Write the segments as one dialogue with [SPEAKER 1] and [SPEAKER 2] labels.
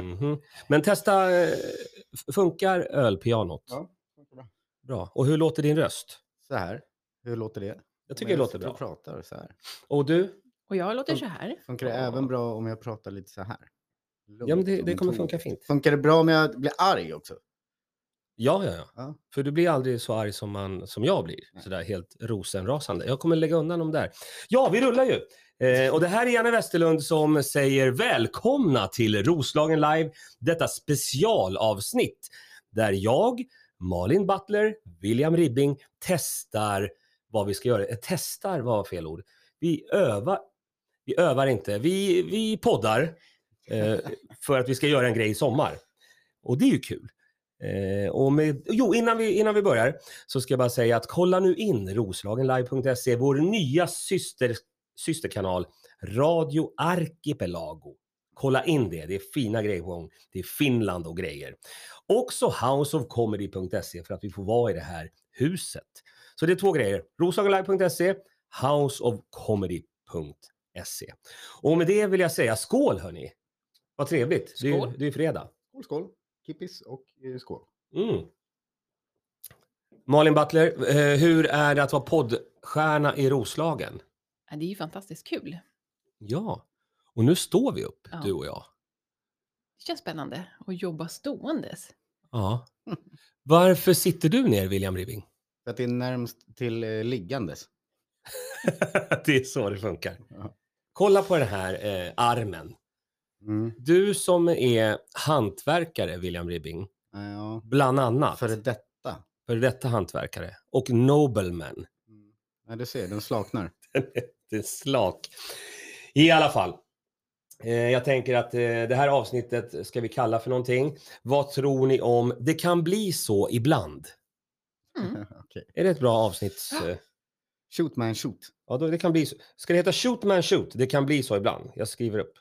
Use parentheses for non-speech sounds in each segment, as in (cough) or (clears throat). [SPEAKER 1] Mhm. Men testa, eh, f- funkar ölpianot?
[SPEAKER 2] Ja.
[SPEAKER 1] Bra. Och hur låter din röst?
[SPEAKER 2] Så här. Hur låter det?
[SPEAKER 1] Jag tycker det låter
[SPEAKER 2] Jag
[SPEAKER 1] bra.
[SPEAKER 2] pratar så här.
[SPEAKER 1] Och du?
[SPEAKER 3] Och jag låter så här.
[SPEAKER 2] Funkar det
[SPEAKER 1] Ja.
[SPEAKER 2] även bra om jag pratar lite så här?
[SPEAKER 1] Ja, men det,
[SPEAKER 2] Lugnt,
[SPEAKER 1] det
[SPEAKER 2] som
[SPEAKER 1] kommer
[SPEAKER 2] en
[SPEAKER 1] funka
[SPEAKER 2] ton.
[SPEAKER 1] fint.
[SPEAKER 2] Funkar det bra om jag blir arg också?
[SPEAKER 1] Ja, ja, ja.
[SPEAKER 2] Ja.
[SPEAKER 1] För du blir aldrig så arg som, man, som jag blir.
[SPEAKER 2] Nej.
[SPEAKER 1] Sådär helt rosenrasande. Jag kommer lägga undan dem där. Ja, vi rullar ju. Eh, och det här är Janne Westerlund som säger välkomna till Roslagen Live. Detta specialavsnitt där jag, Malin Butler, William Ribbing testar vad vi ska göra. Eh, testar var fel ord. Vi övar, vi övar inte. Vi, vi poddar eh, för att vi ska göra en grej i sommar. Och det är ju kul. Eh, och med, jo, innan vi, innan vi börjar så ska jag bara säga att kolla nu in roslagenlive.se, vår nya syster, systerkanal Radio Arkipelago. Kolla in det, det är fina grejer på gång. Det är Finland och grejer. Också houseofcomedy.se för att vi får vara i det här huset. Så det är två grejer, roslagenlive.se, houseofcomedy.se. Och med det vill jag säga skål hörni! Vad trevligt, det är,
[SPEAKER 3] Skål.
[SPEAKER 1] ju- det är ju fredag.
[SPEAKER 2] Skål, skål. Kippis och eh, skål.
[SPEAKER 1] Mm. Malin Butler, eh, hur är det att vara poddstjärna i Roslagen?
[SPEAKER 3] Ja, det är ju fantastiskt kul.
[SPEAKER 1] Ja, och nu står vi upp,
[SPEAKER 3] Ja.
[SPEAKER 1] du och jag.
[SPEAKER 3] Det känns spännande att jobba ståendes.
[SPEAKER 1] Ja. Varför sitter du ner, William Ribbing?
[SPEAKER 2] För att det är närmst till eh, liggandes.
[SPEAKER 1] (laughs) det är så det funkar.
[SPEAKER 2] Ja.
[SPEAKER 1] Kolla på den här eh, armen.
[SPEAKER 2] Mm.
[SPEAKER 1] Du som är hantverkare, William Ribbing,
[SPEAKER 2] Eh, Ja,
[SPEAKER 1] bland annat,
[SPEAKER 2] Före
[SPEAKER 1] för,
[SPEAKER 2] detta.
[SPEAKER 1] detta hantverkare, och nobleman.
[SPEAKER 2] Mm. Ja, du ser,
[SPEAKER 1] (laughs)
[SPEAKER 2] den slaknar. (laughs)
[SPEAKER 1] lite slak. I alla fall. Eh, jag tänker att eh, det här avsnittet ska vi kalla för någonting. Vad tror ni om det kan bli så ibland? Eh,
[SPEAKER 3] Mm.
[SPEAKER 2] Okej.
[SPEAKER 1] Är det ett bra avsnitt? eh?
[SPEAKER 2] Shoot man shoot.
[SPEAKER 1] Ja, då, det kan bli så. Ska det heta Shoot man shoot? Det kan bli så ibland. Jag skriver upp.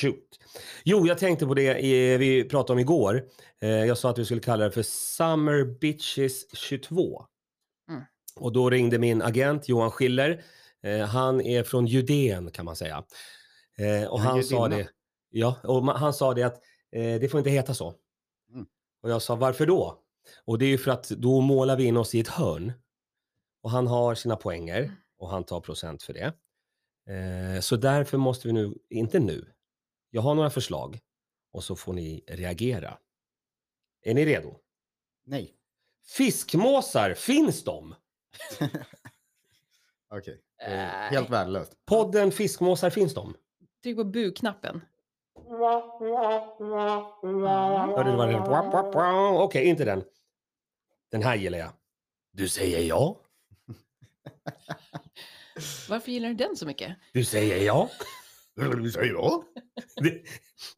[SPEAKER 1] Shoot. Jo, jag tänkte på det eh, vi pratade om igår. Eh, Jag sa att vi skulle kalla det för Summer Bitches 22.
[SPEAKER 3] Mm.
[SPEAKER 1] Och då ringde min agent Johan Schiller. Eh, Han är från Judén kan man säga. Eh, Och
[SPEAKER 2] Ja,
[SPEAKER 1] han sa
[SPEAKER 2] judinna.
[SPEAKER 1] det. Ja, och ma- han sa det att eh, det får inte heta så.
[SPEAKER 2] Mm.
[SPEAKER 1] Och jag sa varför då? Och det är ju för att då målar vi in oss i ett hörn. Och han har sina poänger
[SPEAKER 2] Mm.
[SPEAKER 1] och han tar procent för det. Eh, så därför måste vi nu, inte nu, jag har några förslag och så får ni reagera. Är ni redo?
[SPEAKER 2] Nej.
[SPEAKER 1] Fiskmåsar, finns de?
[SPEAKER 2] Okej. Det
[SPEAKER 3] Äh,
[SPEAKER 2] är Helt värdelöst.
[SPEAKER 1] Podden Fiskmåsar, finns de?
[SPEAKER 3] Tryck på bu-knappen.
[SPEAKER 1] Hörde du vad det Okej, inte den. Den här gillar jag. Du säger ja.
[SPEAKER 3] Varför gillar du den så mycket?
[SPEAKER 1] Du säger ja. (laughs)
[SPEAKER 2] Du säger ja.
[SPEAKER 1] Det,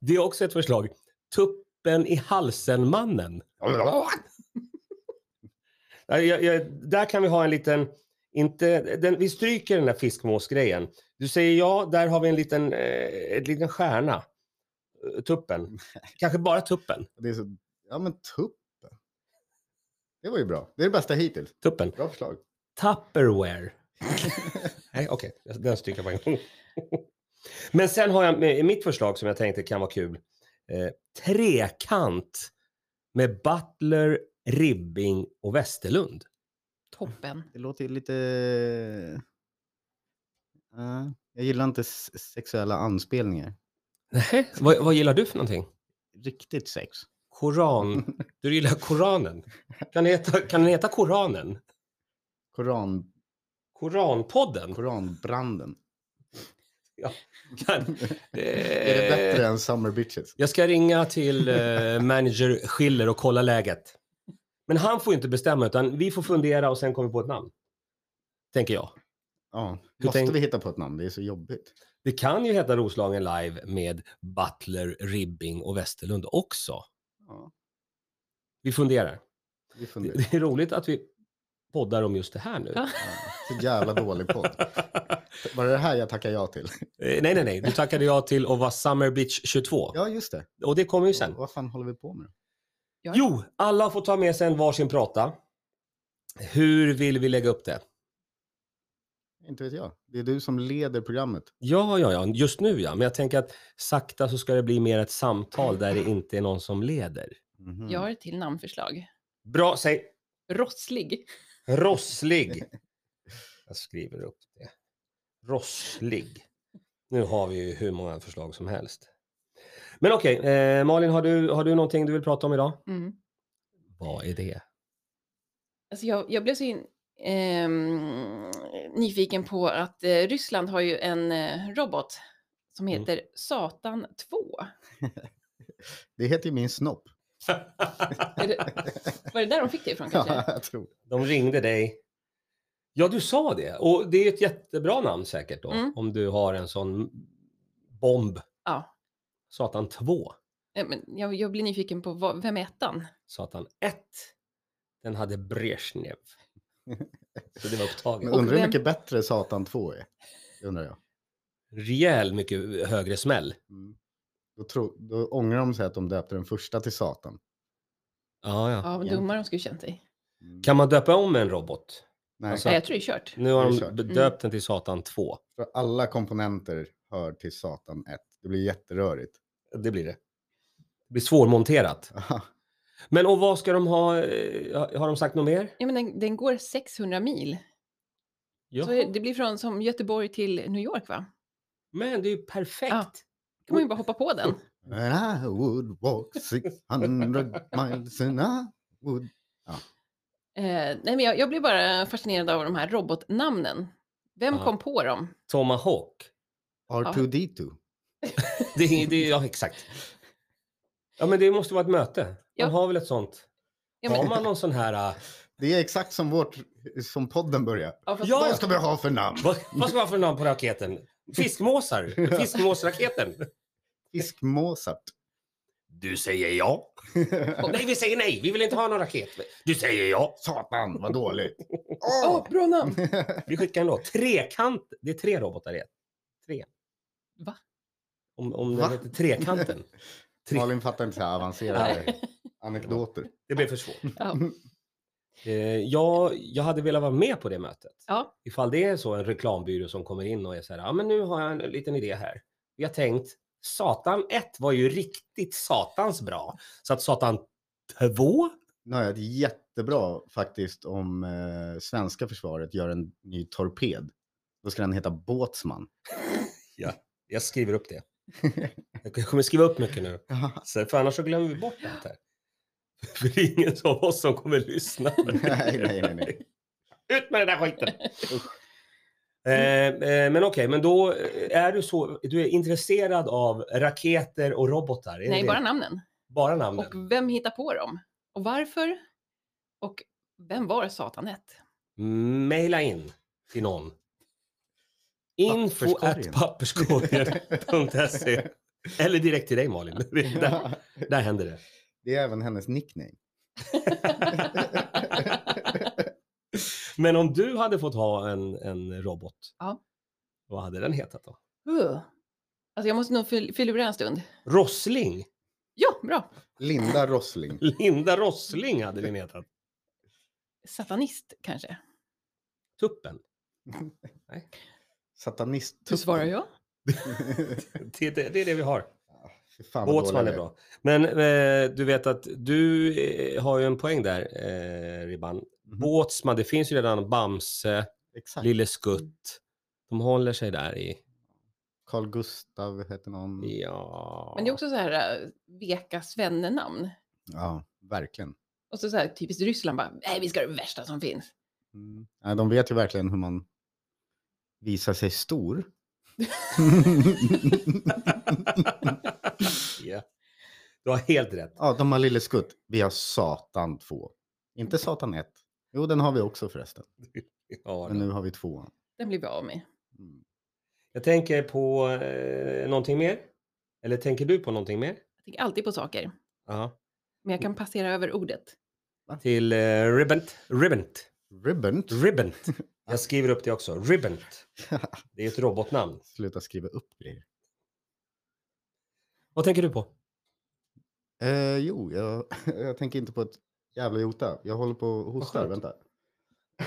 [SPEAKER 1] det är också ett förslag. Tuppen i halsen-mannen. Nej, jag, jag, där kan vi ha en liten... Inte, den, vi stryker den där fiskmåsgrejen. Du säger ja, där har vi en liten, eh, en liten stjärna. Eh, (laughs) Tuppen. Kanske bara tuppen.
[SPEAKER 2] Det är så... Ja, men tuppen. Det var ju bra. Det är det bästa hittills.
[SPEAKER 1] tuppen.
[SPEAKER 2] Bra förslag.
[SPEAKER 1] (laughs) Tupperware. Nej, okej. Den stryker jag på en gång. (laughs) Men sen har jag med- mitt förslag som jag tänkte kan vara kul. Eh, trekant med Butler, Ribbing och Westerlund.
[SPEAKER 3] Toppen.
[SPEAKER 2] Det låter ju lite... Eh, jag gillar inte s- sexuella anspelningar.
[SPEAKER 1] Nej, vad, vad gillar du för någonting?
[SPEAKER 2] Riktigt sex. (laughs)
[SPEAKER 1] Koran. Du gillar Koranen. Kan den heta, kan den heta Koranen?
[SPEAKER 2] Koran, Mm.
[SPEAKER 1] Koranpodden?
[SPEAKER 2] koranbranden.
[SPEAKER 1] Kan,
[SPEAKER 2] (laughs)
[SPEAKER 3] Eh.
[SPEAKER 2] Är det bättre än Summer Bitches?
[SPEAKER 1] Eh, Jag ska ringa till eh, manager Schiller och kolla läget. Men han får ju inte bestämma utan vi får fundera och sen kommer vi på ett namn. Tänker jag.
[SPEAKER 2] Ja.
[SPEAKER 1] Hur
[SPEAKER 2] Måste
[SPEAKER 1] tänk-
[SPEAKER 2] vi hitta på ett namn? Det är så jobbigt.
[SPEAKER 1] Det kan ju heta Roslagen Live med Butler, Ribbing och Westerlund också.
[SPEAKER 2] Ja,
[SPEAKER 1] Vi funderar.
[SPEAKER 2] vi
[SPEAKER 1] Det,
[SPEAKER 2] (laughs) funderar.
[SPEAKER 1] det är roligt att vi poddar om just det här nu.
[SPEAKER 3] Ja.
[SPEAKER 2] Så jävla dålig podd. Var det det här jag tackar ja till?
[SPEAKER 1] Eh, nej, nej, nej. Du tackade jag till att vara Summer Beach 22.
[SPEAKER 2] Ja, just det.
[SPEAKER 1] Och det kommer ju sen.
[SPEAKER 2] Vad fan håller vi på med? då?
[SPEAKER 3] Ja.
[SPEAKER 1] Jo, alla får ta med sig en varsin prata. Hur vill vi lägga upp det?
[SPEAKER 2] Inte vet jag. Det är du som leder programmet.
[SPEAKER 1] Ja, ja, ja, just nu ja. Men jag tänker att sakta så ska det bli mer ett samtal där det inte är någon som leder.
[SPEAKER 2] Mhm.
[SPEAKER 1] Mm.
[SPEAKER 3] Jag har ett till namnförslag.
[SPEAKER 1] Bra, säg
[SPEAKER 3] Rosslig.
[SPEAKER 1] rosslig. (laughs) Jag skriver upp det. Rosslig. Nu har vi ju hur många förslag som helst. Men okej, eh, Malin, har du, har du någonting du vill prata om idag?
[SPEAKER 3] Mm.
[SPEAKER 1] Vad är det?
[SPEAKER 3] Alltså jag, jag blev så in, ehm, nyfiken på att eh, Ryssland har ju en eh, robot som
[SPEAKER 1] Mm.
[SPEAKER 3] heter Satan 2.
[SPEAKER 2] Det heter ju min snopp.
[SPEAKER 3] Är det,
[SPEAKER 1] (laughs)
[SPEAKER 3] var det där de fick det ifrån
[SPEAKER 2] (laughs) Ja,
[SPEAKER 3] kanske?
[SPEAKER 2] jag tror det.
[SPEAKER 1] De ringde dig. Ja, du sa det. Och det är ett jättebra namn säkert då,
[SPEAKER 3] Mm.
[SPEAKER 1] om du har en sån bomb.
[SPEAKER 3] Ja.
[SPEAKER 1] Satan 2.
[SPEAKER 3] Nej, Men jag, jag blir nyfiken på vad, vem är ettan?
[SPEAKER 1] Satan 1. Den hade Brezhnev. Så det var upptaget.
[SPEAKER 2] Men
[SPEAKER 1] Och
[SPEAKER 2] undrar hur
[SPEAKER 3] vem-
[SPEAKER 2] mycket bättre Satan 2 är. Det undrar jag.
[SPEAKER 1] rejäl mycket högre smäll.
[SPEAKER 2] Mm. Då, tro, då ångrar de sig att de döpte den första till Satan.
[SPEAKER 1] Ja, ja.
[SPEAKER 3] Ja, vad
[SPEAKER 2] Ja.
[SPEAKER 3] dumma de skulle känt sig.
[SPEAKER 2] Mm.
[SPEAKER 1] Kan man döpa om en robot?
[SPEAKER 2] Nej,
[SPEAKER 1] alltså-
[SPEAKER 3] Nej, jag tror det är kört.
[SPEAKER 1] Nu
[SPEAKER 2] Det
[SPEAKER 1] har
[SPEAKER 2] är
[SPEAKER 1] de
[SPEAKER 2] kört.
[SPEAKER 1] döpt
[SPEAKER 3] Mm.
[SPEAKER 1] den till Satan 2.
[SPEAKER 2] för alla komponenter hör till Satan 1. Det blir
[SPEAKER 1] (laughs)
[SPEAKER 2] jätterörigt.
[SPEAKER 1] Det blir det. Det blir svårmonterat.
[SPEAKER 2] Aha.
[SPEAKER 1] Men och vad ska de ha? eh, ha- Har de sagt något mer?
[SPEAKER 3] Ja, men den, den går 600 mil.
[SPEAKER 1] Ja.
[SPEAKER 3] Så det blir från som Göteborg till New York, va?
[SPEAKER 1] Men det är ju perfekt.
[SPEAKER 3] Ja. kan man ju bara hoppa på den.
[SPEAKER 2] And I would walk 600 miles and I would...
[SPEAKER 3] Eh, nej, men jag, jag blir bara fascinerad av de här robotnamnen. Vem
[SPEAKER 1] Ja.
[SPEAKER 3] kom på dem?
[SPEAKER 1] Tomahawk.
[SPEAKER 2] R2D2.
[SPEAKER 1] Det, är- det, är- ja, exakt. Ja, men det måste vara ett möte. Man
[SPEAKER 3] Ja.
[SPEAKER 1] har väl ett sånt?
[SPEAKER 3] Ja,
[SPEAKER 1] Har
[SPEAKER 3] men,
[SPEAKER 1] man någon sån här... eh,
[SPEAKER 2] Det är exakt som, vårt, som podden börjar.
[SPEAKER 3] ja, fast,
[SPEAKER 1] Ja,
[SPEAKER 2] Vad ska vi ha för namn?
[SPEAKER 1] vad, vad ska man ha för namn på raketen? Fiskmåsar.
[SPEAKER 2] (laughs)
[SPEAKER 1] Fiskmåsraketen.
[SPEAKER 2] Fiskmåsat.
[SPEAKER 1] Du säger ja. Nej, vi säger nej. Vi vill inte ha någon raket. Du säger ja.
[SPEAKER 2] Satan, vad dåligt.
[SPEAKER 3] (laughs) Åh,
[SPEAKER 2] Åh! (laughs)
[SPEAKER 3] bra namn!
[SPEAKER 1] Vi skickar en låt. Trekant. Det är tre robotar i ett. Tre.
[SPEAKER 3] Va?
[SPEAKER 1] Om, om den
[SPEAKER 2] Va?
[SPEAKER 1] heter Trekanten. Tre.
[SPEAKER 2] (laughs) Malin fattar inte så här avancerade anekdoter.
[SPEAKER 1] Det blev för svårt.
[SPEAKER 3] Ja.
[SPEAKER 1] Eh, jag, jag hade velat vara med på det mötet.
[SPEAKER 3] Ja.
[SPEAKER 1] Ifall det är så en reklambyrå som kommer in och är så här, ja ah, men nu har jag en liten idé här. Vi har tänkt, Satan 1 var ju riktigt satans bra. Så att Satan 2?
[SPEAKER 2] Nu har jag ett jättebra faktiskt om eh, svenska försvaret gör en ny torped. Då ska den heta Båtsman.
[SPEAKER 1] Jag skriver upp
[SPEAKER 3] (laughs)
[SPEAKER 1] det. Jag kommer skriva upp mycket nu. Så, för annars så glömmer vi bort allt här. (laughs) För det är ingen av oss som kommer lyssna.
[SPEAKER 2] (laughs) nej, nej, nej, nej.
[SPEAKER 1] Ut med den där skiten! Eh,
[SPEAKER 3] Mm.
[SPEAKER 1] eh, men okej, men då eh, är du så, du är intresserad av raketer och robotar? Är det
[SPEAKER 3] Nej,
[SPEAKER 1] det?
[SPEAKER 3] bara namnen.
[SPEAKER 1] bara namnen?
[SPEAKER 3] Och vem hittar på dem? Och varför? Och vem var satanet?
[SPEAKER 1] Maila in till någon. Info
[SPEAKER 2] Papperskorgen.
[SPEAKER 1] at
[SPEAKER 2] (laughs)
[SPEAKER 1] papperskorgen.se Eller direkt till dig Malin. (laughs) Där, där händer det.
[SPEAKER 2] Det är även hennes nickname.
[SPEAKER 1] Men om du hade fått ha en, en robot,
[SPEAKER 3] Ja.
[SPEAKER 1] vad hade den hetat då?
[SPEAKER 3] Ugh. Alltså jag måste nog fyll- fylla ur en stund.
[SPEAKER 1] Rossling.
[SPEAKER 3] Ja, bra.
[SPEAKER 2] Linda Rossling.
[SPEAKER 1] Linda Rossling hade den hetat.
[SPEAKER 3] Satanist kanske.
[SPEAKER 1] Tuppen.
[SPEAKER 2] Satanist. (laughs)
[SPEAKER 3] Så svarar jag.
[SPEAKER 1] Det, det, det är det vi har.
[SPEAKER 2] Fan, vad
[SPEAKER 1] Båtsman
[SPEAKER 2] dåliga
[SPEAKER 1] är
[SPEAKER 2] vi
[SPEAKER 1] bra. Men eh, du vet att du eh, har ju en poäng där, eh, Ribban.
[SPEAKER 2] Mhm.
[SPEAKER 1] Båtsman, det finns ju redan Bamse,
[SPEAKER 2] Exakt.
[SPEAKER 1] Lille Skutt. De håller sig där i...
[SPEAKER 2] Carl Gustav heter någon.
[SPEAKER 1] Ja...
[SPEAKER 3] Men det är också så här äh, veka svenne-namn.
[SPEAKER 2] Ja, verkligen.
[SPEAKER 3] Och så, så här typiskt Ryssland bara, nej vi ska ha det värsta som finns.
[SPEAKER 2] Mm. Nej, de vet ju verkligen hur man visar sig (laughs) stor.
[SPEAKER 1] Ja. Du har helt rätt.
[SPEAKER 2] ja, de har Lille Skutt. Vi har Satan 2. Inte Satan 1. Jo, den har vi också förresten.
[SPEAKER 1] Ja,
[SPEAKER 2] Men nu har vi tvåan.
[SPEAKER 3] Den blir vi av med.
[SPEAKER 2] Mm.
[SPEAKER 1] Jag tänker på eh, någonting mer. Eller tänker du på någonting mer?
[SPEAKER 3] Jag tänker alltid på saker,
[SPEAKER 1] Ja.
[SPEAKER 3] men jag kan passera över ordet.
[SPEAKER 1] Till eh, Ribbent. Ribbent.
[SPEAKER 2] Ribbon.
[SPEAKER 1] (laughs) Ribbent. Jag skriver upp det också. (laughs) Ribbent. Det är ett robotnamn.
[SPEAKER 2] Sluta skriva upp grejer.
[SPEAKER 1] Vad tänker du på?
[SPEAKER 2] Eh, jo, jag, (laughs) jag tänker inte på ett jävla jota. Jag håller på och hostar.
[SPEAKER 1] skönt.
[SPEAKER 2] Vänta.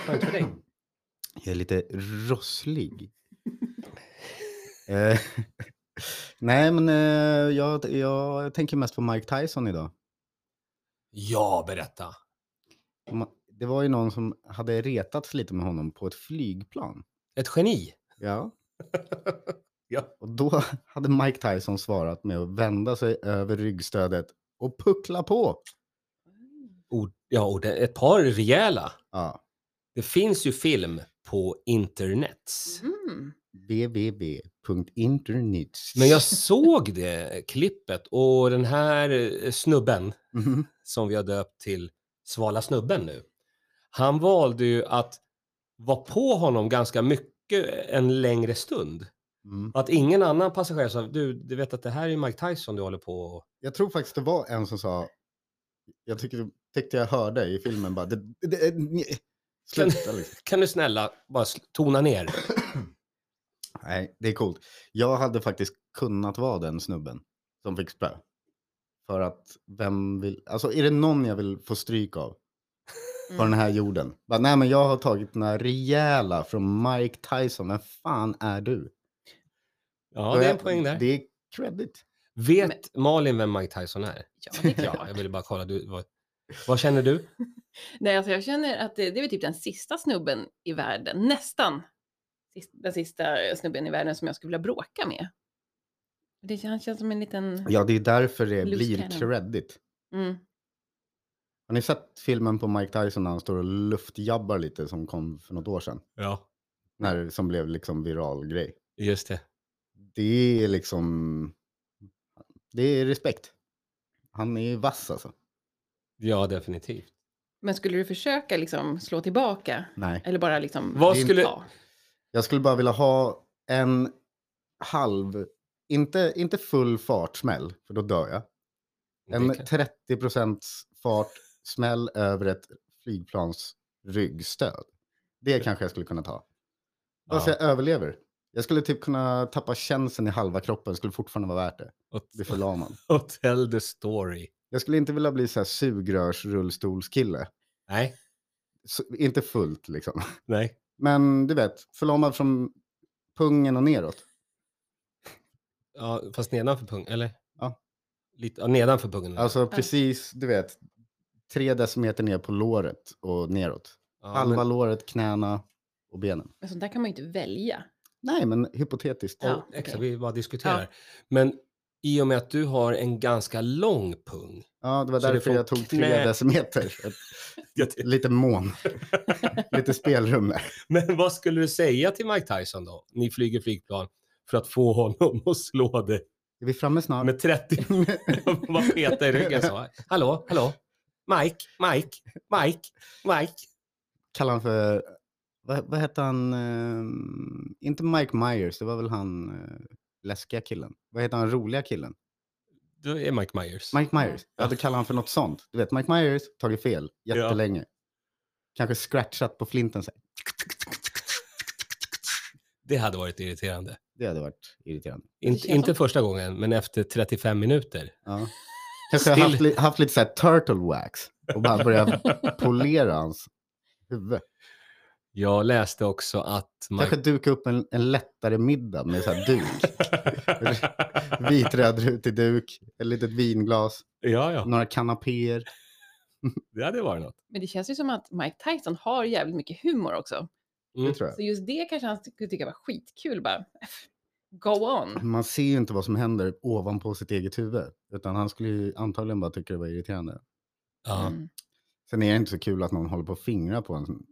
[SPEAKER 1] Skönt för dig.
[SPEAKER 2] Jag är lite (laughs) rosslig. Eh, (laughs) Nej, men eh, jag, jag tänker mest på Mike Tyson idag.
[SPEAKER 1] Ja, berätta.
[SPEAKER 2] Ma- Det var ju någon som hade retats lite med honom på ett flygplan.
[SPEAKER 1] Ett geni.
[SPEAKER 2] (laughs) Ja.
[SPEAKER 1] Ja.
[SPEAKER 2] Och då hade Mike Tyson svarat med att vända sig över ryggstödet och puckla på.
[SPEAKER 1] Ord, ja, ord, ett par rejäla.
[SPEAKER 2] Ja,
[SPEAKER 1] Det finns ju film på internets.
[SPEAKER 3] Mm.
[SPEAKER 2] www.internet.
[SPEAKER 1] Men jag såg det klippet och den här eh, snubben
[SPEAKER 2] Mhm.
[SPEAKER 1] som vi har döpt till Svala snubben nu. Han valde ju att vara på honom ganska mycket en längre stund.
[SPEAKER 2] Mm.
[SPEAKER 1] Att ingen annan passagerare sa, du, du vet att det här är ju Mike Tyson du håller på och...
[SPEAKER 2] Jag tror faktiskt det var en som sa, jag tyckte, tyckte jag hörde i filmen bara, det, det, det, nej, sluta liksom.
[SPEAKER 1] Kan du snälla bara sl- tona ner?
[SPEAKER 2] Nej, det är coolt. Jag hade faktiskt kunnat vara den snubben som fick spö. För att vem vill, alltså är det någon jag vill få stryk av på den
[SPEAKER 1] Mm.
[SPEAKER 2] här jorden? Bara, nej men jag har tagit några rejäla från Mike Tyson, vem fan är du?
[SPEAKER 1] Ja,
[SPEAKER 2] Då
[SPEAKER 1] det är en poäng där.
[SPEAKER 2] Det är credit.
[SPEAKER 1] Vet Malin vem Mike Tyson är?
[SPEAKER 3] (laughs) Ja, det är klart.
[SPEAKER 1] (laughs) Ja, jag ville bara kolla. Du, vad, vad känner du?
[SPEAKER 3] Nej, alltså jag känner att det, det är väl typ den sista snubben i världen, nästan sist- den sista snubben i världen som jag skulle vilja bråka med. Det, han känns som en
[SPEAKER 1] Mm.
[SPEAKER 3] liten...
[SPEAKER 2] Ja, det är därför det
[SPEAKER 3] Loose
[SPEAKER 2] blir
[SPEAKER 3] cannon.
[SPEAKER 2] credit.
[SPEAKER 3] Mm.
[SPEAKER 2] Har ni sett filmen på Mike Tyson när han står och luftjabbar lite som kom för något år sedan?
[SPEAKER 1] Ja,
[SPEAKER 2] När, som blev liksom viral grej.
[SPEAKER 1] just det.
[SPEAKER 2] Det är liksom... Det är respekt. Han är vass alltså.
[SPEAKER 1] Ja, definitivt.
[SPEAKER 3] Men skulle du försöka liksom slå tillbaka?
[SPEAKER 2] Nej.
[SPEAKER 1] Eh.
[SPEAKER 3] Eller bara liksom...
[SPEAKER 1] Vad
[SPEAKER 2] Det är
[SPEAKER 1] skulle...
[SPEAKER 3] Ja.
[SPEAKER 2] Jag skulle bara vilja ha en halv, inte, inte full fartsmäll, för då dör jag. En
[SPEAKER 1] Det kan-
[SPEAKER 2] 30 procents fart, smäll över ett flygplans ryggstöd. Det kanske jag skulle kunna ta. Bara så
[SPEAKER 1] Ja.
[SPEAKER 2] jag överlever. Jag skulle typ kunna tappa känseln i halva kroppen, skulle fortfarande vara värt det. Det
[SPEAKER 1] Hot-
[SPEAKER 2] förlamar man.
[SPEAKER 1] Hotel the story.
[SPEAKER 2] Jag skulle inte vilja bli så här sugrörsrullstolskille.
[SPEAKER 1] Nej,
[SPEAKER 2] Så, inte fullt liksom.
[SPEAKER 1] nej.
[SPEAKER 2] Men du vet, förlamad från pungen och neråt.
[SPEAKER 1] Ja, fast nedanför pungen, eller?
[SPEAKER 2] Ja.
[SPEAKER 1] Lite, ja, nedanför pungen.
[SPEAKER 2] Alltså precis, du vet, tre decimeter ner på låret och neråt.
[SPEAKER 1] ja,
[SPEAKER 2] Halva
[SPEAKER 1] men-
[SPEAKER 2] låret, knäna och benen.
[SPEAKER 3] Men sånt där kan man ju inte välja.
[SPEAKER 2] Nej, men hypotetiskt.
[SPEAKER 3] Ja.
[SPEAKER 1] och- Exakt,
[SPEAKER 3] okej.
[SPEAKER 1] vi bara diskuterar. Men i och med att du har en ganska lång pung.
[SPEAKER 2] Ja, det var
[SPEAKER 1] Så det
[SPEAKER 2] därför
[SPEAKER 1] får
[SPEAKER 2] jag tog tre
[SPEAKER 1] knä-
[SPEAKER 2] decimeter. Ett,
[SPEAKER 1] (laughs)
[SPEAKER 2] lite mån. lite spelrum där.
[SPEAKER 1] Men vad skulle du säga till Mike Tyson då? Ni flyger flygplan för att få honom att slå dig
[SPEAKER 2] Är vi framme snart?
[SPEAKER 1] med 30 (laughs) Vad peta i ryggen så. Hallå, hallå. Mike, Mike, Mike, Mike.
[SPEAKER 2] (laughs) Kallar han för... Vad, vad hette han? eh, inte Mike Myers, det var väl han eh, läskiga killen. Vad heter han, roliga killen?
[SPEAKER 1] Du är Mike Myers.
[SPEAKER 2] Mike Myers. Jag hade kallat honom för något sånt. Du vet, Mike Myers, tagit fel jättelänge. Kanske scratchat på flinten. Så här.
[SPEAKER 1] Det hade varit irriterande.
[SPEAKER 2] Det hade varit irriterande.
[SPEAKER 1] In,
[SPEAKER 3] känns
[SPEAKER 1] inte
[SPEAKER 3] som-
[SPEAKER 1] första gången, men efter 35 minuter. (laughs)
[SPEAKER 2] Ja. Kanske jag haft,
[SPEAKER 1] Still-
[SPEAKER 2] li- haft lite så här turtle wax och
[SPEAKER 1] (laughs)
[SPEAKER 2] bara börjat polera hans huvud.
[SPEAKER 1] Jag läste också att... Mike...
[SPEAKER 2] Kanske duka upp en, en lättare middag med så här
[SPEAKER 1] (laughs)
[SPEAKER 2] duk. Vitrödrutig duk, ett litet vinglas,
[SPEAKER 1] ja, ja.
[SPEAKER 2] några kanapéer.
[SPEAKER 1] Det hade varit något.
[SPEAKER 3] Men det känns ju som att Mike Tyson har jävligt mycket humor också.
[SPEAKER 2] Det
[SPEAKER 1] Mm.
[SPEAKER 2] tror
[SPEAKER 3] Så just det kanske han skulle tycka var skitkul bara. "F- Go
[SPEAKER 2] jag.
[SPEAKER 3] on.
[SPEAKER 2] Man ser ju inte vad som händer ovanpå sitt eget huvud. Utan han skulle ju antagligen bara tycka det var irriterande.
[SPEAKER 1] Ja.
[SPEAKER 3] Mm.
[SPEAKER 2] Sen är det inte så kul att någon håller på och fingrar på en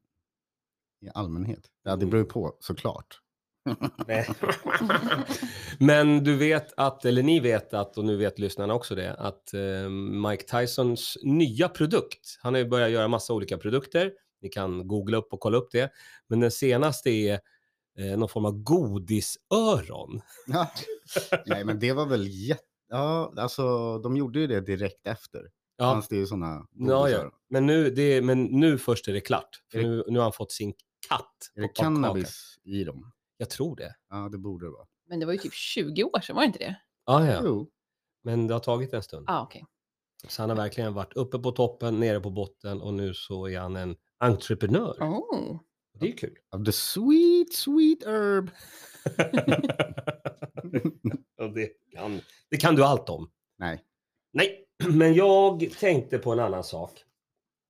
[SPEAKER 2] i allmänhet. Ja,
[SPEAKER 1] Mm.
[SPEAKER 2] det beror ju på såklart.
[SPEAKER 1] Nej. (laughs) Men du vet att, eller ni vet att, och nu vet lyssnarna också det, att eh, Mike Tysons nya produkt, han har ju börjat göra massa olika produkter, ni kan googla upp och kolla upp det, men den senaste är eh, någon form av godisöron.
[SPEAKER 2] Ja. (laughs) Nej, men det var väl jätte... Ja, alltså de gjorde ju det direkt efter.
[SPEAKER 1] Ja,
[SPEAKER 2] Fanns det ju sådana...
[SPEAKER 1] ja, ja. Men, nu, det, men nu först är det klart, för
[SPEAKER 2] Är det-
[SPEAKER 1] nu, nu har han fått sin katt.
[SPEAKER 2] Är det
[SPEAKER 1] på popcorn.
[SPEAKER 2] cannabis i dem?
[SPEAKER 1] Jag tror det.
[SPEAKER 2] Ja, det borde det vara.
[SPEAKER 3] Men det var ju typ 20 år sedan, var det inte det?
[SPEAKER 1] Ja, ja.
[SPEAKER 2] Jo.
[SPEAKER 1] Men det har tagit en stund.
[SPEAKER 3] Ja, ah, okej.
[SPEAKER 1] Så han har verkligen varit uppe på toppen, nere på botten och nu så är han en entreprenör.
[SPEAKER 3] Oh.
[SPEAKER 1] Det är ju kul.
[SPEAKER 2] Of the sweet, sweet herb.
[SPEAKER 1] Och det, kan, det kan du allt om.
[SPEAKER 2] Nej.
[SPEAKER 1] Nej, (clears throat) men jag tänkte på en annan sak. (laughs)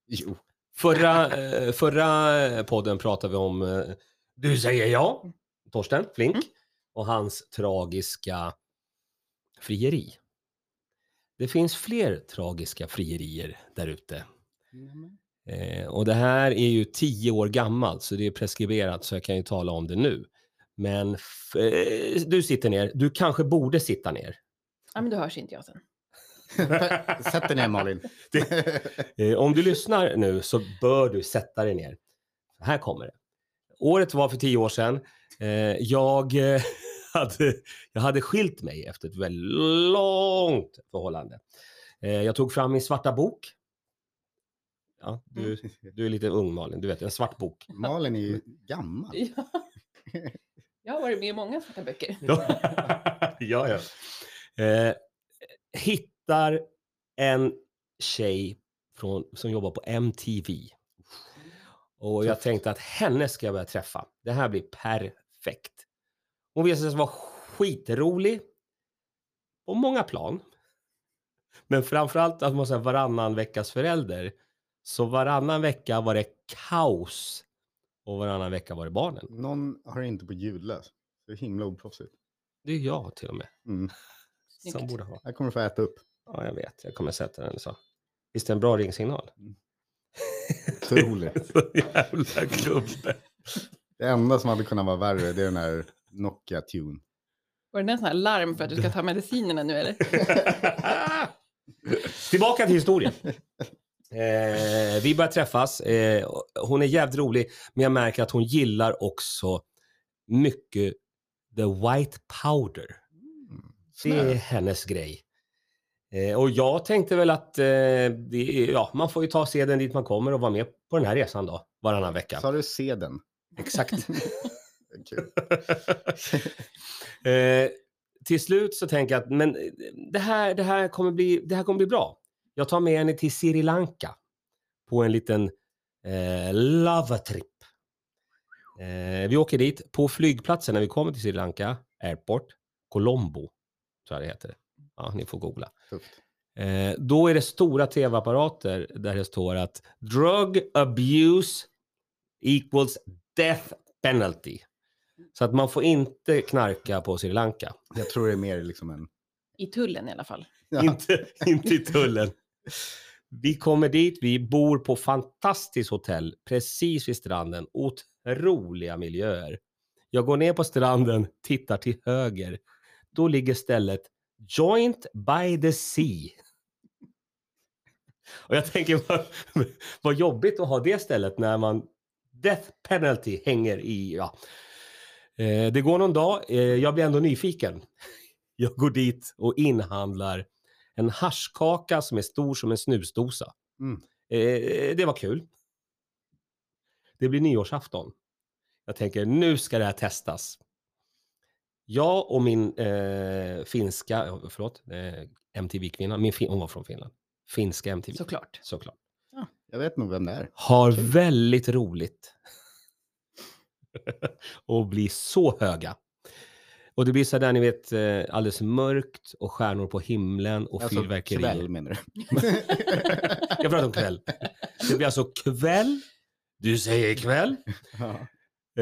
[SPEAKER 2] Jo.
[SPEAKER 1] Förra, eh, förra podden pratade vi om eh, Du säger ja, Torsten Flink
[SPEAKER 3] Mm.
[SPEAKER 1] och hans tragiska frieri. Det finns fler tragiska frierier där ute. Eh, och det här är ju tio år gammalt så det är preskriberat så jag kan ju tala om det nu. Men f- eh, du sitter ner, du kanske borde sitta ner.
[SPEAKER 3] Ja, men då hörs inte jag sen.
[SPEAKER 2] Sätt dig ner Malin.
[SPEAKER 1] Eh, Om du lyssnar nu så bör du sätta dig ner. Här kommer det. Året var för tio år sedan. Eh, Jag eh, (laughs) hade, jag hade skilt mig efter ett väldigt långt förhållande. Eh, Jag tog fram min svarta bok. Ja, du, du är lite ung Malin, du vet, en svart bok.
[SPEAKER 2] (laughs) Malin är ju
[SPEAKER 1] (laughs)
[SPEAKER 2] gammal.
[SPEAKER 3] Ja. Jag har varit med i många svarta böcker.
[SPEAKER 1] ja, ja. (laughs) Eh, hittar en tjej från, som jobbar på MTV. Och jag tänkte att henne ska jag börja träffa. Det här blir perfekt. Hon visade sig vara skitrolig. På många plan. Men framförallt att man säger varannan veckas förälder. Så varannan vecka var det kaos. Och varannan vecka var det barnen.
[SPEAKER 2] Någon har inte på ljudlös. Det är himla oproffsigt.
[SPEAKER 1] Det är jag till och med.
[SPEAKER 2] Mm.
[SPEAKER 1] Som
[SPEAKER 3] Snyggt.
[SPEAKER 1] borde ha.
[SPEAKER 2] Här kommer du få äta upp.
[SPEAKER 1] Ja, jag vet. Jag kommer sätta den så. Visst är det en bra (laughs) ringsignal?
[SPEAKER 2] Otroligt.
[SPEAKER 1] Så jävla gubbe.
[SPEAKER 2] Det enda som hade kunnat vara värre det är den här Nokia Tune.
[SPEAKER 3] Var det en sån här larm för att du ska ta medicinerna nu eller?
[SPEAKER 1] (laughs) Tillbaka till historien. Eh, vi börjar träffas. Eh, och hon är jävligt rolig, men jag märker att hon gillar också mycket the white powder. Det är
[SPEAKER 2] Snö.
[SPEAKER 1] hennes grej. Eh, och jag tänkte väl att eh, det, är- ja, man får ju ta seden dit man kommer och vara med på den här resan då, varannan vecka.
[SPEAKER 2] Sa du se den?
[SPEAKER 1] Exakt.
[SPEAKER 2] Kul.
[SPEAKER 1] eh, till slut så tänker jag att men, eh, det, här, det, här kommer bli, det här kommer bli bra. Jag tar med henne till Sri Lanka på en liten eh, lavatrip. Eh, vi åker dit. På flygplatsen när vi kommer till Sri Lanka, airport, Colombo, tror jag det heter. Ja, ni får googla.
[SPEAKER 2] Tufft.
[SPEAKER 1] Eh, då är det stora tv-apparater där det står att drug abuse equals death penalty. Så att man får inte knarka på Sri Lanka.
[SPEAKER 2] Jag tror det är mer liksom en...
[SPEAKER 3] I tullen i alla fall.
[SPEAKER 2] Ja.
[SPEAKER 1] Inte, inte i tullen. Vi kommer dit, vi bor på fantastiskt hotell precis vid stranden. Otroliga miljöer. Jag går ner på stranden, tittar till höger. Då ligger stället Joint by the Sea. Och jag tänker vad, vad jobbigt att ha det stället när man Death penalty hänger i, ja. Eh, det går någon dag, eh, jag blir ändå nyfiken. (laughs) Jag går dit och inhandlar en haschkaka som är stor som en snusdosa.
[SPEAKER 2] Mm.
[SPEAKER 1] Eh, det var kul. Det blir nyårsafton. Jag tänker nu ska det här testas. Jag och min eh, finska, eh, förlåt, eh, MTV-kvinna, min fin- hon var från Finland, finska MTV,
[SPEAKER 3] Såklart.
[SPEAKER 1] såklart
[SPEAKER 2] Jag vet nog vem det är.
[SPEAKER 1] har väldigt roligt. (laughs) och blir så höga. Och det blir så där, ni vet, eh, alldeles mörkt och stjärnor på himlen och
[SPEAKER 2] Alltså
[SPEAKER 1] fyrverkerier.
[SPEAKER 2] kväll menar du?
[SPEAKER 1] Jag pratar om kväll. Det blir alltså kväll. Du säger kväll.
[SPEAKER 2] ja.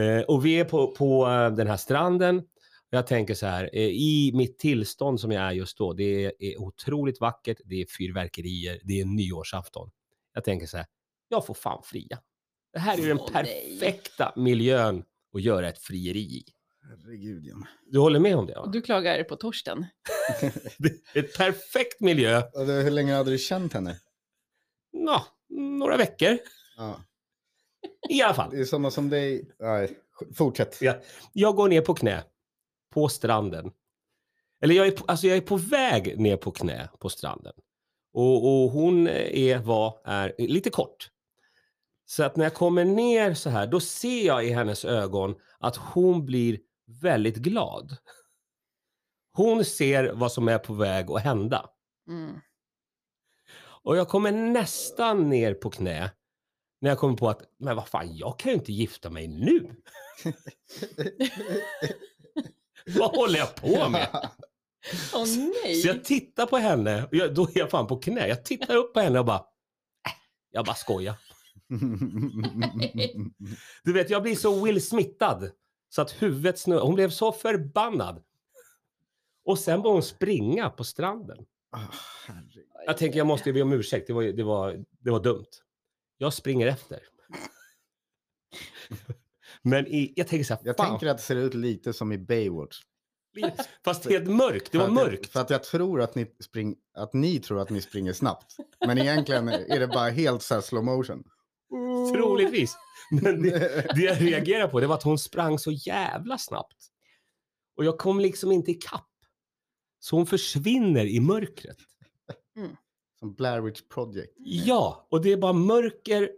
[SPEAKER 1] Eh, och vi är på, på eh, den här stranden. Jag tänker så här, eh, i mitt tillstånd som jag är just då, det är, är otroligt vackert, det är fyrverkerier, det är nyårsafton. Jag tänker så här, jag får fan fria. Det här är ju den
[SPEAKER 3] Åh, nej.
[SPEAKER 1] perfekta miljön att göra ett frieri i.
[SPEAKER 2] Herregud, John.
[SPEAKER 1] Du håller med om det? Va?
[SPEAKER 3] Och du klagar på Torsten.
[SPEAKER 1] (laughs) Det är Ett perfekt miljö,
[SPEAKER 2] Och det- Hur länge hade du känt henne?
[SPEAKER 1] nå, några veckor
[SPEAKER 2] Ja.
[SPEAKER 1] i alla fall.
[SPEAKER 2] Det är samma som dig. Nej, fortsätt.
[SPEAKER 1] Ja. Jag går ner på knä på stranden. Eller jag är på, alltså jag är på väg ner på knä på stranden. Och, och hon eh, är, var, är eh, lite kort. Så att när jag kommer ner så här, då ser jag i hennes ögon att hon blir väldigt glad. Hon ser vad som är på väg att hända.
[SPEAKER 3] Mm.
[SPEAKER 1] Och jag kommer nästan ner på knä. När jag kom på att, men vad fan, jag kan ju inte gifta mig nu. (laughs) vad håller jag på
[SPEAKER 2] (laughs)
[SPEAKER 1] med?
[SPEAKER 3] Åh nej!
[SPEAKER 1] Så jag tittar på henne, och jag, då är jag fan på knä. Jag tittar upp på henne och bara, "Äh, jag bara skojar. Du vet, jag blir så Will Smithad så att huvudet snurrar. Hon blev så förbannad. Och sen började hon springa på stranden.
[SPEAKER 2] Ah, herregud.
[SPEAKER 1] Jag tänker, jag måste ju be om ursäkt. Det var, ju- det var, det var dumt. Jag springer efter. Men i, jag tänker så här,
[SPEAKER 2] jag
[SPEAKER 1] fan,
[SPEAKER 2] tänker att det ser ut lite som i Baywatch.
[SPEAKER 1] fast helt mörkt. Det var
[SPEAKER 2] för att Jag,
[SPEAKER 1] mörkt.
[SPEAKER 2] för att jag tror att ni, spring, att ni tror att ni springer snabbt. Men egentligen är det bara helt så här slow motion.
[SPEAKER 3] Mm.
[SPEAKER 1] Troligtvis. Men det, (laughs) det jag reagerade på det var att hon sprang så jävla snabbt. Och jag kom liksom inte ikapp. Så hon försvinner i mörkret.
[SPEAKER 2] Som Blair Witch Project.
[SPEAKER 1] Ja, och det är bara mörker.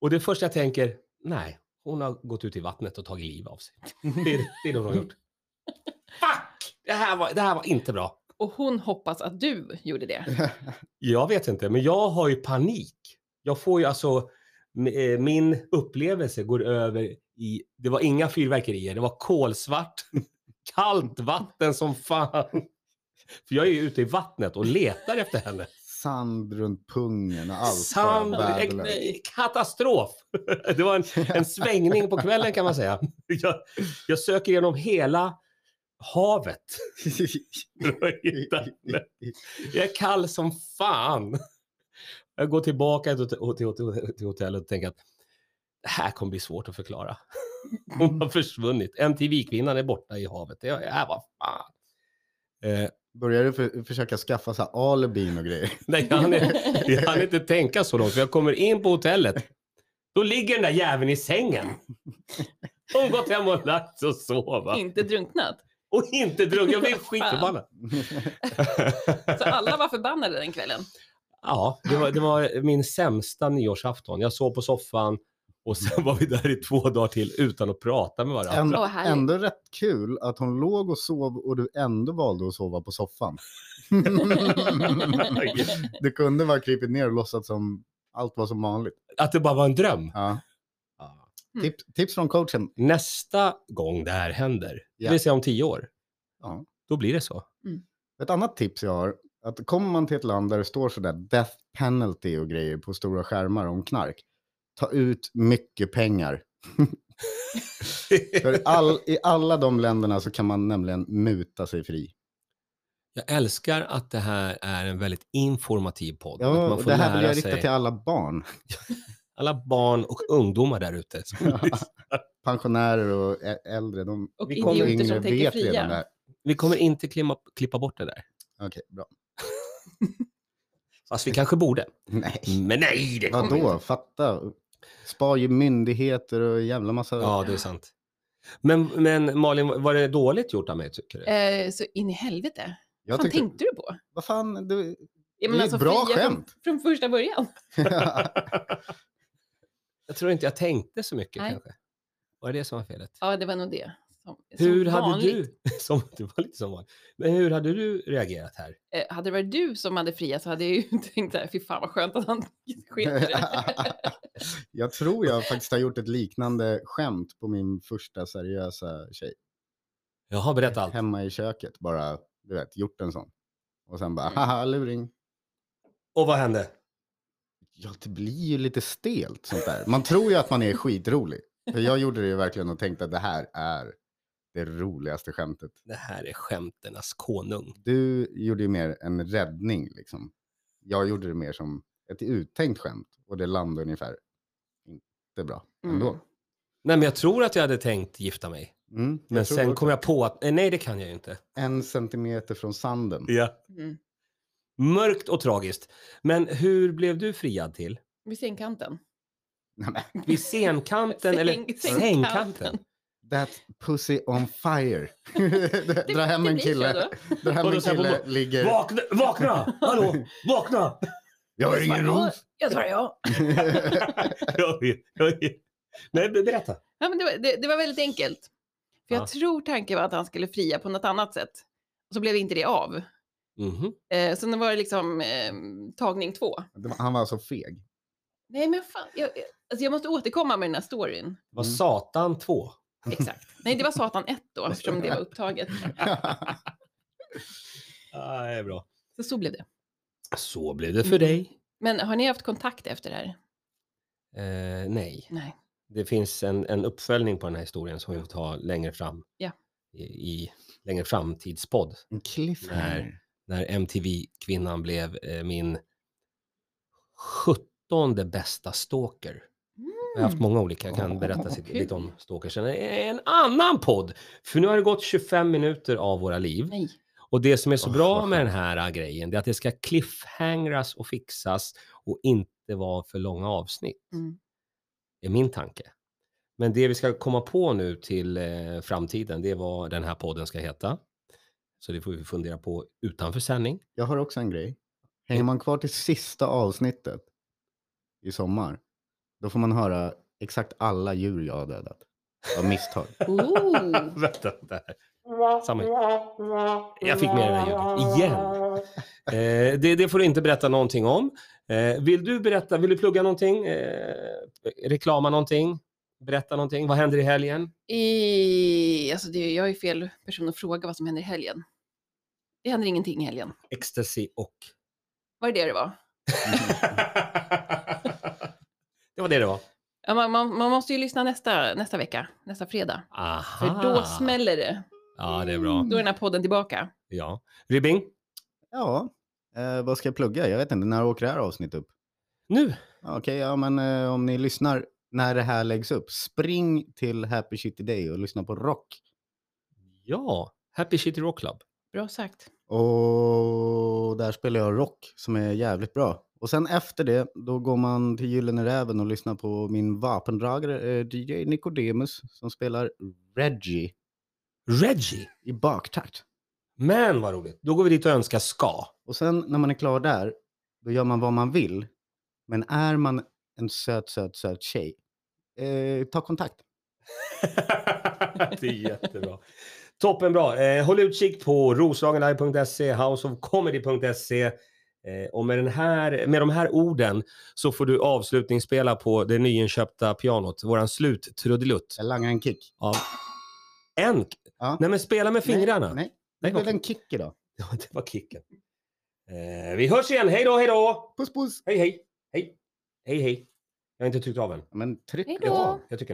[SPEAKER 1] Och det första jag tänker, nej, hon har gått ut i vattnet och tagit liv av sig. (laughs) Det är det, är det hon har gjort. (laughs) Fuck! Det här, var, det här var inte bra.
[SPEAKER 3] Och hon hoppas att du gjorde det.
[SPEAKER 1] Jag vet inte, men jag har ju panik. Jag får ju alltså, m- eh, min upplevelse går över i, det var inga fyrverkerier, det var kolsvart, (laughs) kallt vatten som fan. För jag är ju ute i vattnet och letar efter henne.
[SPEAKER 2] Sand runt pungen och allt.
[SPEAKER 1] Sand,
[SPEAKER 2] bara vädrar.
[SPEAKER 1] eh, katastrof! (laughs) Det var en,
[SPEAKER 2] (laughs)
[SPEAKER 1] en svängning på kvällen kan man säga. (laughs) Jag, jag söker genom hela havet för att hitta henne. Jag är kall som fan. Jag går tillbaka till till- till- till hotellet och tänker att det här kommer bli svårt att förklara. Hon har försvunnit. MTV-kvinnan är borta i havet. Det här var fan. Eh,
[SPEAKER 2] Börjar du för, försöka skaffa så här alibin och grejer?
[SPEAKER 1] nej, han är, jag hann inte tänka så långt, för jag kommer in på hotellet. Då ligger den där jäveln i sängen. Hon gått hem och lagt sig och sova.
[SPEAKER 3] Inte drunknat.
[SPEAKER 1] Och inte druckit. Jag blev skitförbannad.
[SPEAKER 3] Så alla var förbannade den kvällen.
[SPEAKER 1] Ja, det var, det var min sämsta nyårsafton. Jag sov på soffan och sen var vi där i två dagar till utan att prata med varandra.
[SPEAKER 2] Ändå,
[SPEAKER 3] Åh, härligt.
[SPEAKER 2] ändå rätt kul att hon låg och sov och du ändå valde att sova på
[SPEAKER 1] (laughs)
[SPEAKER 2] soffan. du kunde bara krypit ner och låtsats som allt var som vanligt.
[SPEAKER 1] Att det bara var en dröm.
[SPEAKER 2] Ja. Tips, tips från coachen.
[SPEAKER 1] Nästa gång det här händer, det
[SPEAKER 2] Ja.
[SPEAKER 1] vill säga om tio år,
[SPEAKER 2] Ja.
[SPEAKER 1] då blir det så.
[SPEAKER 2] Ett annat tips jag har, att kommer man till ett land där det står sådär death penalty och grejer på stora skärmar om knark, ta ut mycket pengar. För i all, I alla de länderna så kan man nämligen muta sig fri.
[SPEAKER 1] Jag älskar att det här är en väldigt informativ podd. att
[SPEAKER 2] Ja,
[SPEAKER 1] man
[SPEAKER 2] och
[SPEAKER 1] får
[SPEAKER 2] det här vill
[SPEAKER 1] lära
[SPEAKER 2] jag rikta
[SPEAKER 1] sig.
[SPEAKER 2] till alla barn,
[SPEAKER 1] Alla barn och ungdomar där ute. som lyssnar.
[SPEAKER 2] pensionärer och ä- äldre. De
[SPEAKER 3] Och
[SPEAKER 1] Vi kommer
[SPEAKER 3] idioter
[SPEAKER 2] yngre
[SPEAKER 3] som tänker
[SPEAKER 2] vet redan det
[SPEAKER 3] fria.
[SPEAKER 2] här.
[SPEAKER 1] Vi kommer inte klimma, klippa bort det där.
[SPEAKER 2] Okej, bra.
[SPEAKER 1] Fast vi kanske borde.
[SPEAKER 2] Nej,
[SPEAKER 1] Men nej, det kommer
[SPEAKER 2] vadå? Fatta. Spar ju myndigheter och jävla massa...
[SPEAKER 1] Ja, det är sant. Men, men Malin, var det dåligt gjort av mig tycker du?
[SPEAKER 3] Eh, så in i helvete. Vad
[SPEAKER 2] jag
[SPEAKER 3] fan
[SPEAKER 2] tyckte,
[SPEAKER 3] tänkte du på?
[SPEAKER 2] vad fan, du...
[SPEAKER 3] Ja, alltså,
[SPEAKER 2] Det är ett bra
[SPEAKER 3] fria från-
[SPEAKER 2] skämt. (laughs)
[SPEAKER 3] Från första början.
[SPEAKER 1] Jag tror inte jag tänkte så mycket
[SPEAKER 3] Nej.
[SPEAKER 1] kanske. Var det det som var felet?
[SPEAKER 3] Ja, det var nog det. Som,
[SPEAKER 1] hur
[SPEAKER 3] som
[SPEAKER 1] hade
[SPEAKER 3] vanligt.
[SPEAKER 1] du... (laughs) Som, det var lite som vanligt. Men hur hade du reagerat här?
[SPEAKER 3] Eh, hade det varit du som hade friat så hade jag ju (laughs) tänkt så här, fy fan vad skönt att han (laughs) sket i det.
[SPEAKER 2] (laughs) jag tror jag faktiskt har gjort ett liknande skämt på min första seriösa tjej.
[SPEAKER 1] Jag har berättat allt.
[SPEAKER 2] Hemma i köket bara, du vet, gjort en sån. Och sen bara, haha, luring.
[SPEAKER 1] Och vad hände?
[SPEAKER 2] Ja, det blir ju lite stelt sånt där. Man tror ju att man är skitrolig. För jag gjorde det ju verkligen och tänkte att det här är det roligaste skämtet.
[SPEAKER 1] Det här är skämternas konung.
[SPEAKER 2] Du gjorde ju mer en räddning liksom. Jag gjorde det mer som ett uttänkt skämt och det landade ungefär inte bra ändå.
[SPEAKER 3] Mm.
[SPEAKER 1] Nej, men jag tror att jag hade tänkt gifta mig.
[SPEAKER 2] Mm, jag
[SPEAKER 1] Men
[SPEAKER 2] tror
[SPEAKER 1] sen
[SPEAKER 2] också.
[SPEAKER 1] kom jag på att eh, nej, det kan jag ju inte.
[SPEAKER 2] en centimeter från sanden.
[SPEAKER 1] Ja.
[SPEAKER 3] Mm.
[SPEAKER 1] Mörkt och tragiskt. Men hur blev du friad till?
[SPEAKER 3] Vid sängkanten.
[SPEAKER 2] Nej, men,
[SPEAKER 1] Vid scenkanten eller
[SPEAKER 3] Säng-
[SPEAKER 1] sängkanten?
[SPEAKER 2] That pussy
[SPEAKER 1] (laughs)
[SPEAKER 2] on fire. (laughs) Dra hem en
[SPEAKER 3] blir så
[SPEAKER 2] kille.
[SPEAKER 3] då.
[SPEAKER 2] Dra hem
[SPEAKER 1] Och
[SPEAKER 2] en
[SPEAKER 1] då så här på
[SPEAKER 2] kille
[SPEAKER 1] morgonen,
[SPEAKER 2] ligger...
[SPEAKER 1] Vakna! Vakna! Hallå! Vakna!
[SPEAKER 2] Jag har ingen ros.
[SPEAKER 3] Jag svarar ja.
[SPEAKER 2] (laughs)
[SPEAKER 1] (laughs) Jag vet, jag vet. Nej, be- berätta.
[SPEAKER 3] Ja, men det, var, det, det var väldigt enkelt. För jag
[SPEAKER 1] Ja.
[SPEAKER 3] tror tanken var att han skulle fria på något annat sätt. Och så blev inte det av.
[SPEAKER 1] Mhm.
[SPEAKER 3] Eh, så nu var det liksom eh, ehm, tagning två.
[SPEAKER 1] (laughs)
[SPEAKER 2] Han var så alltså feg.
[SPEAKER 3] Nej, men fan, jag, jag- alltså jag måste återkomma med den
[SPEAKER 2] (laughs)
[SPEAKER 3] här storyn.
[SPEAKER 1] Var
[SPEAKER 2] Mm.
[SPEAKER 1] Satan 2?
[SPEAKER 3] Exakt. Nej, det var Satan 1 då, eftersom det var upptaget.
[SPEAKER 1] Ah, det är bra. Mm.
[SPEAKER 3] Så så blev det.
[SPEAKER 1] Så blev det för dig.
[SPEAKER 3] Men har ni haft kontakt efter det här?
[SPEAKER 1] Eh, nej.
[SPEAKER 3] Nej.
[SPEAKER 1] Det finns en, en uppföljning på den här historien som vi får ta längre fram.
[SPEAKER 3] Ja.
[SPEAKER 1] I, i längre framtidspodd.
[SPEAKER 2] En cliffhanger.
[SPEAKER 1] När MTV-kvinnan blev eh, min sjuttonde bästa stalker. Jag har haft många olika, jag kan
[SPEAKER 2] Åh,
[SPEAKER 1] berätta
[SPEAKER 2] vad
[SPEAKER 1] sitt-
[SPEAKER 3] kul.
[SPEAKER 1] lite om stalkers. En, en annan podd! För nu har det gått 25 minuter av våra liv.
[SPEAKER 3] Mm. Nej.
[SPEAKER 1] Och det som är så
[SPEAKER 2] Åh,
[SPEAKER 1] bra
[SPEAKER 2] vad
[SPEAKER 1] med den
[SPEAKER 2] skönt.
[SPEAKER 1] här äh, grejen det är att det ska cliffhangras och fixas och inte vara för långa avsnitt,
[SPEAKER 3] Mm.
[SPEAKER 1] är min tanke. Men det vi ska komma på nu till eh, framtiden, det är vad den här podden ska heta. Så det får vi fundera på utanför sändning.
[SPEAKER 2] Jag har också en grej. Hänger man kvar till sista avsnittet i sommar, då får man höra exakt alla djur jag har dödat.
[SPEAKER 1] (laughs)
[SPEAKER 2] Av misstag.
[SPEAKER 3] Oh. (laughs)
[SPEAKER 1] Vänta, där. Samma. Jag fick med det där ljudet igen. Eh, det, det får du inte berätta någonting om. Eh, vill du berätta, vill du plugga någonting? Eh, reklama någonting? Berätta någonting? Vad händer i helgen?
[SPEAKER 3] I, alltså det, jag är fel person att fråga vad som händer i helgen. Det händer ingenting i helgen.
[SPEAKER 1] Ecstasy och...
[SPEAKER 3] Var det det det var?
[SPEAKER 1] Mm. det var det det var.
[SPEAKER 3] Ja, man, man, man måste ju lyssna nästa, nästa vecka, nästa fredag.
[SPEAKER 1] Aha.
[SPEAKER 3] För då smäller Mm. det.
[SPEAKER 1] Ja, det är bra.
[SPEAKER 3] Då är den här podden tillbaka.
[SPEAKER 1] Ja. Ribbing,
[SPEAKER 2] Ja, eh, vad ska jag plugga? Jag vet inte. När åker det här avsnittet upp?
[SPEAKER 1] nu.
[SPEAKER 2] Ja, Okej, ja men eh, om ni lyssnar när det här läggs upp, spring till Happy Shitty Day och lyssna på rock.
[SPEAKER 1] Ja, Happy City Rock Club.
[SPEAKER 3] Bra sagt.
[SPEAKER 2] Och där spelar jag rock som är jävligt bra. Och sen efter det, då går man till Gyllene Räven och lyssnar på min vapendragare eh, DJ Nicodemus som spelar Reggie
[SPEAKER 1] Reggie.
[SPEAKER 2] i baktakt.
[SPEAKER 1] Men vad roligt. Då går vi dit och önskar ska.
[SPEAKER 2] Och sen när man är klar där, då gör man vad man vill. Men är man en söt, söt, söt tjej, eh, ta kontakt.
[SPEAKER 1] (laughs) det är jättebra. Toppenbra. Eh, håll utkik på roslagenlive.se, houseofcomedy.se. Eh, och med, den här, med de här orden så får du avslutningsspela på det nyinköpta pianot, våran sluttrudelutt.
[SPEAKER 2] Jag langar en kick.
[SPEAKER 1] Av en...
[SPEAKER 2] Ja.
[SPEAKER 1] Nej men spela med fingrarna.
[SPEAKER 2] Nej, nej.
[SPEAKER 1] Nej,
[SPEAKER 2] det blev
[SPEAKER 1] okej.
[SPEAKER 2] en kick idag.
[SPEAKER 1] Ja, det var kicken. Eh, vi hörs igen. Hej då, hej då!
[SPEAKER 2] Puss puss!
[SPEAKER 1] Hej, hej! Hej, hej, hej! Jag har inte tryckt av än.
[SPEAKER 2] Men tryck
[SPEAKER 3] Hej
[SPEAKER 2] på.
[SPEAKER 3] då.
[SPEAKER 1] Jag tycker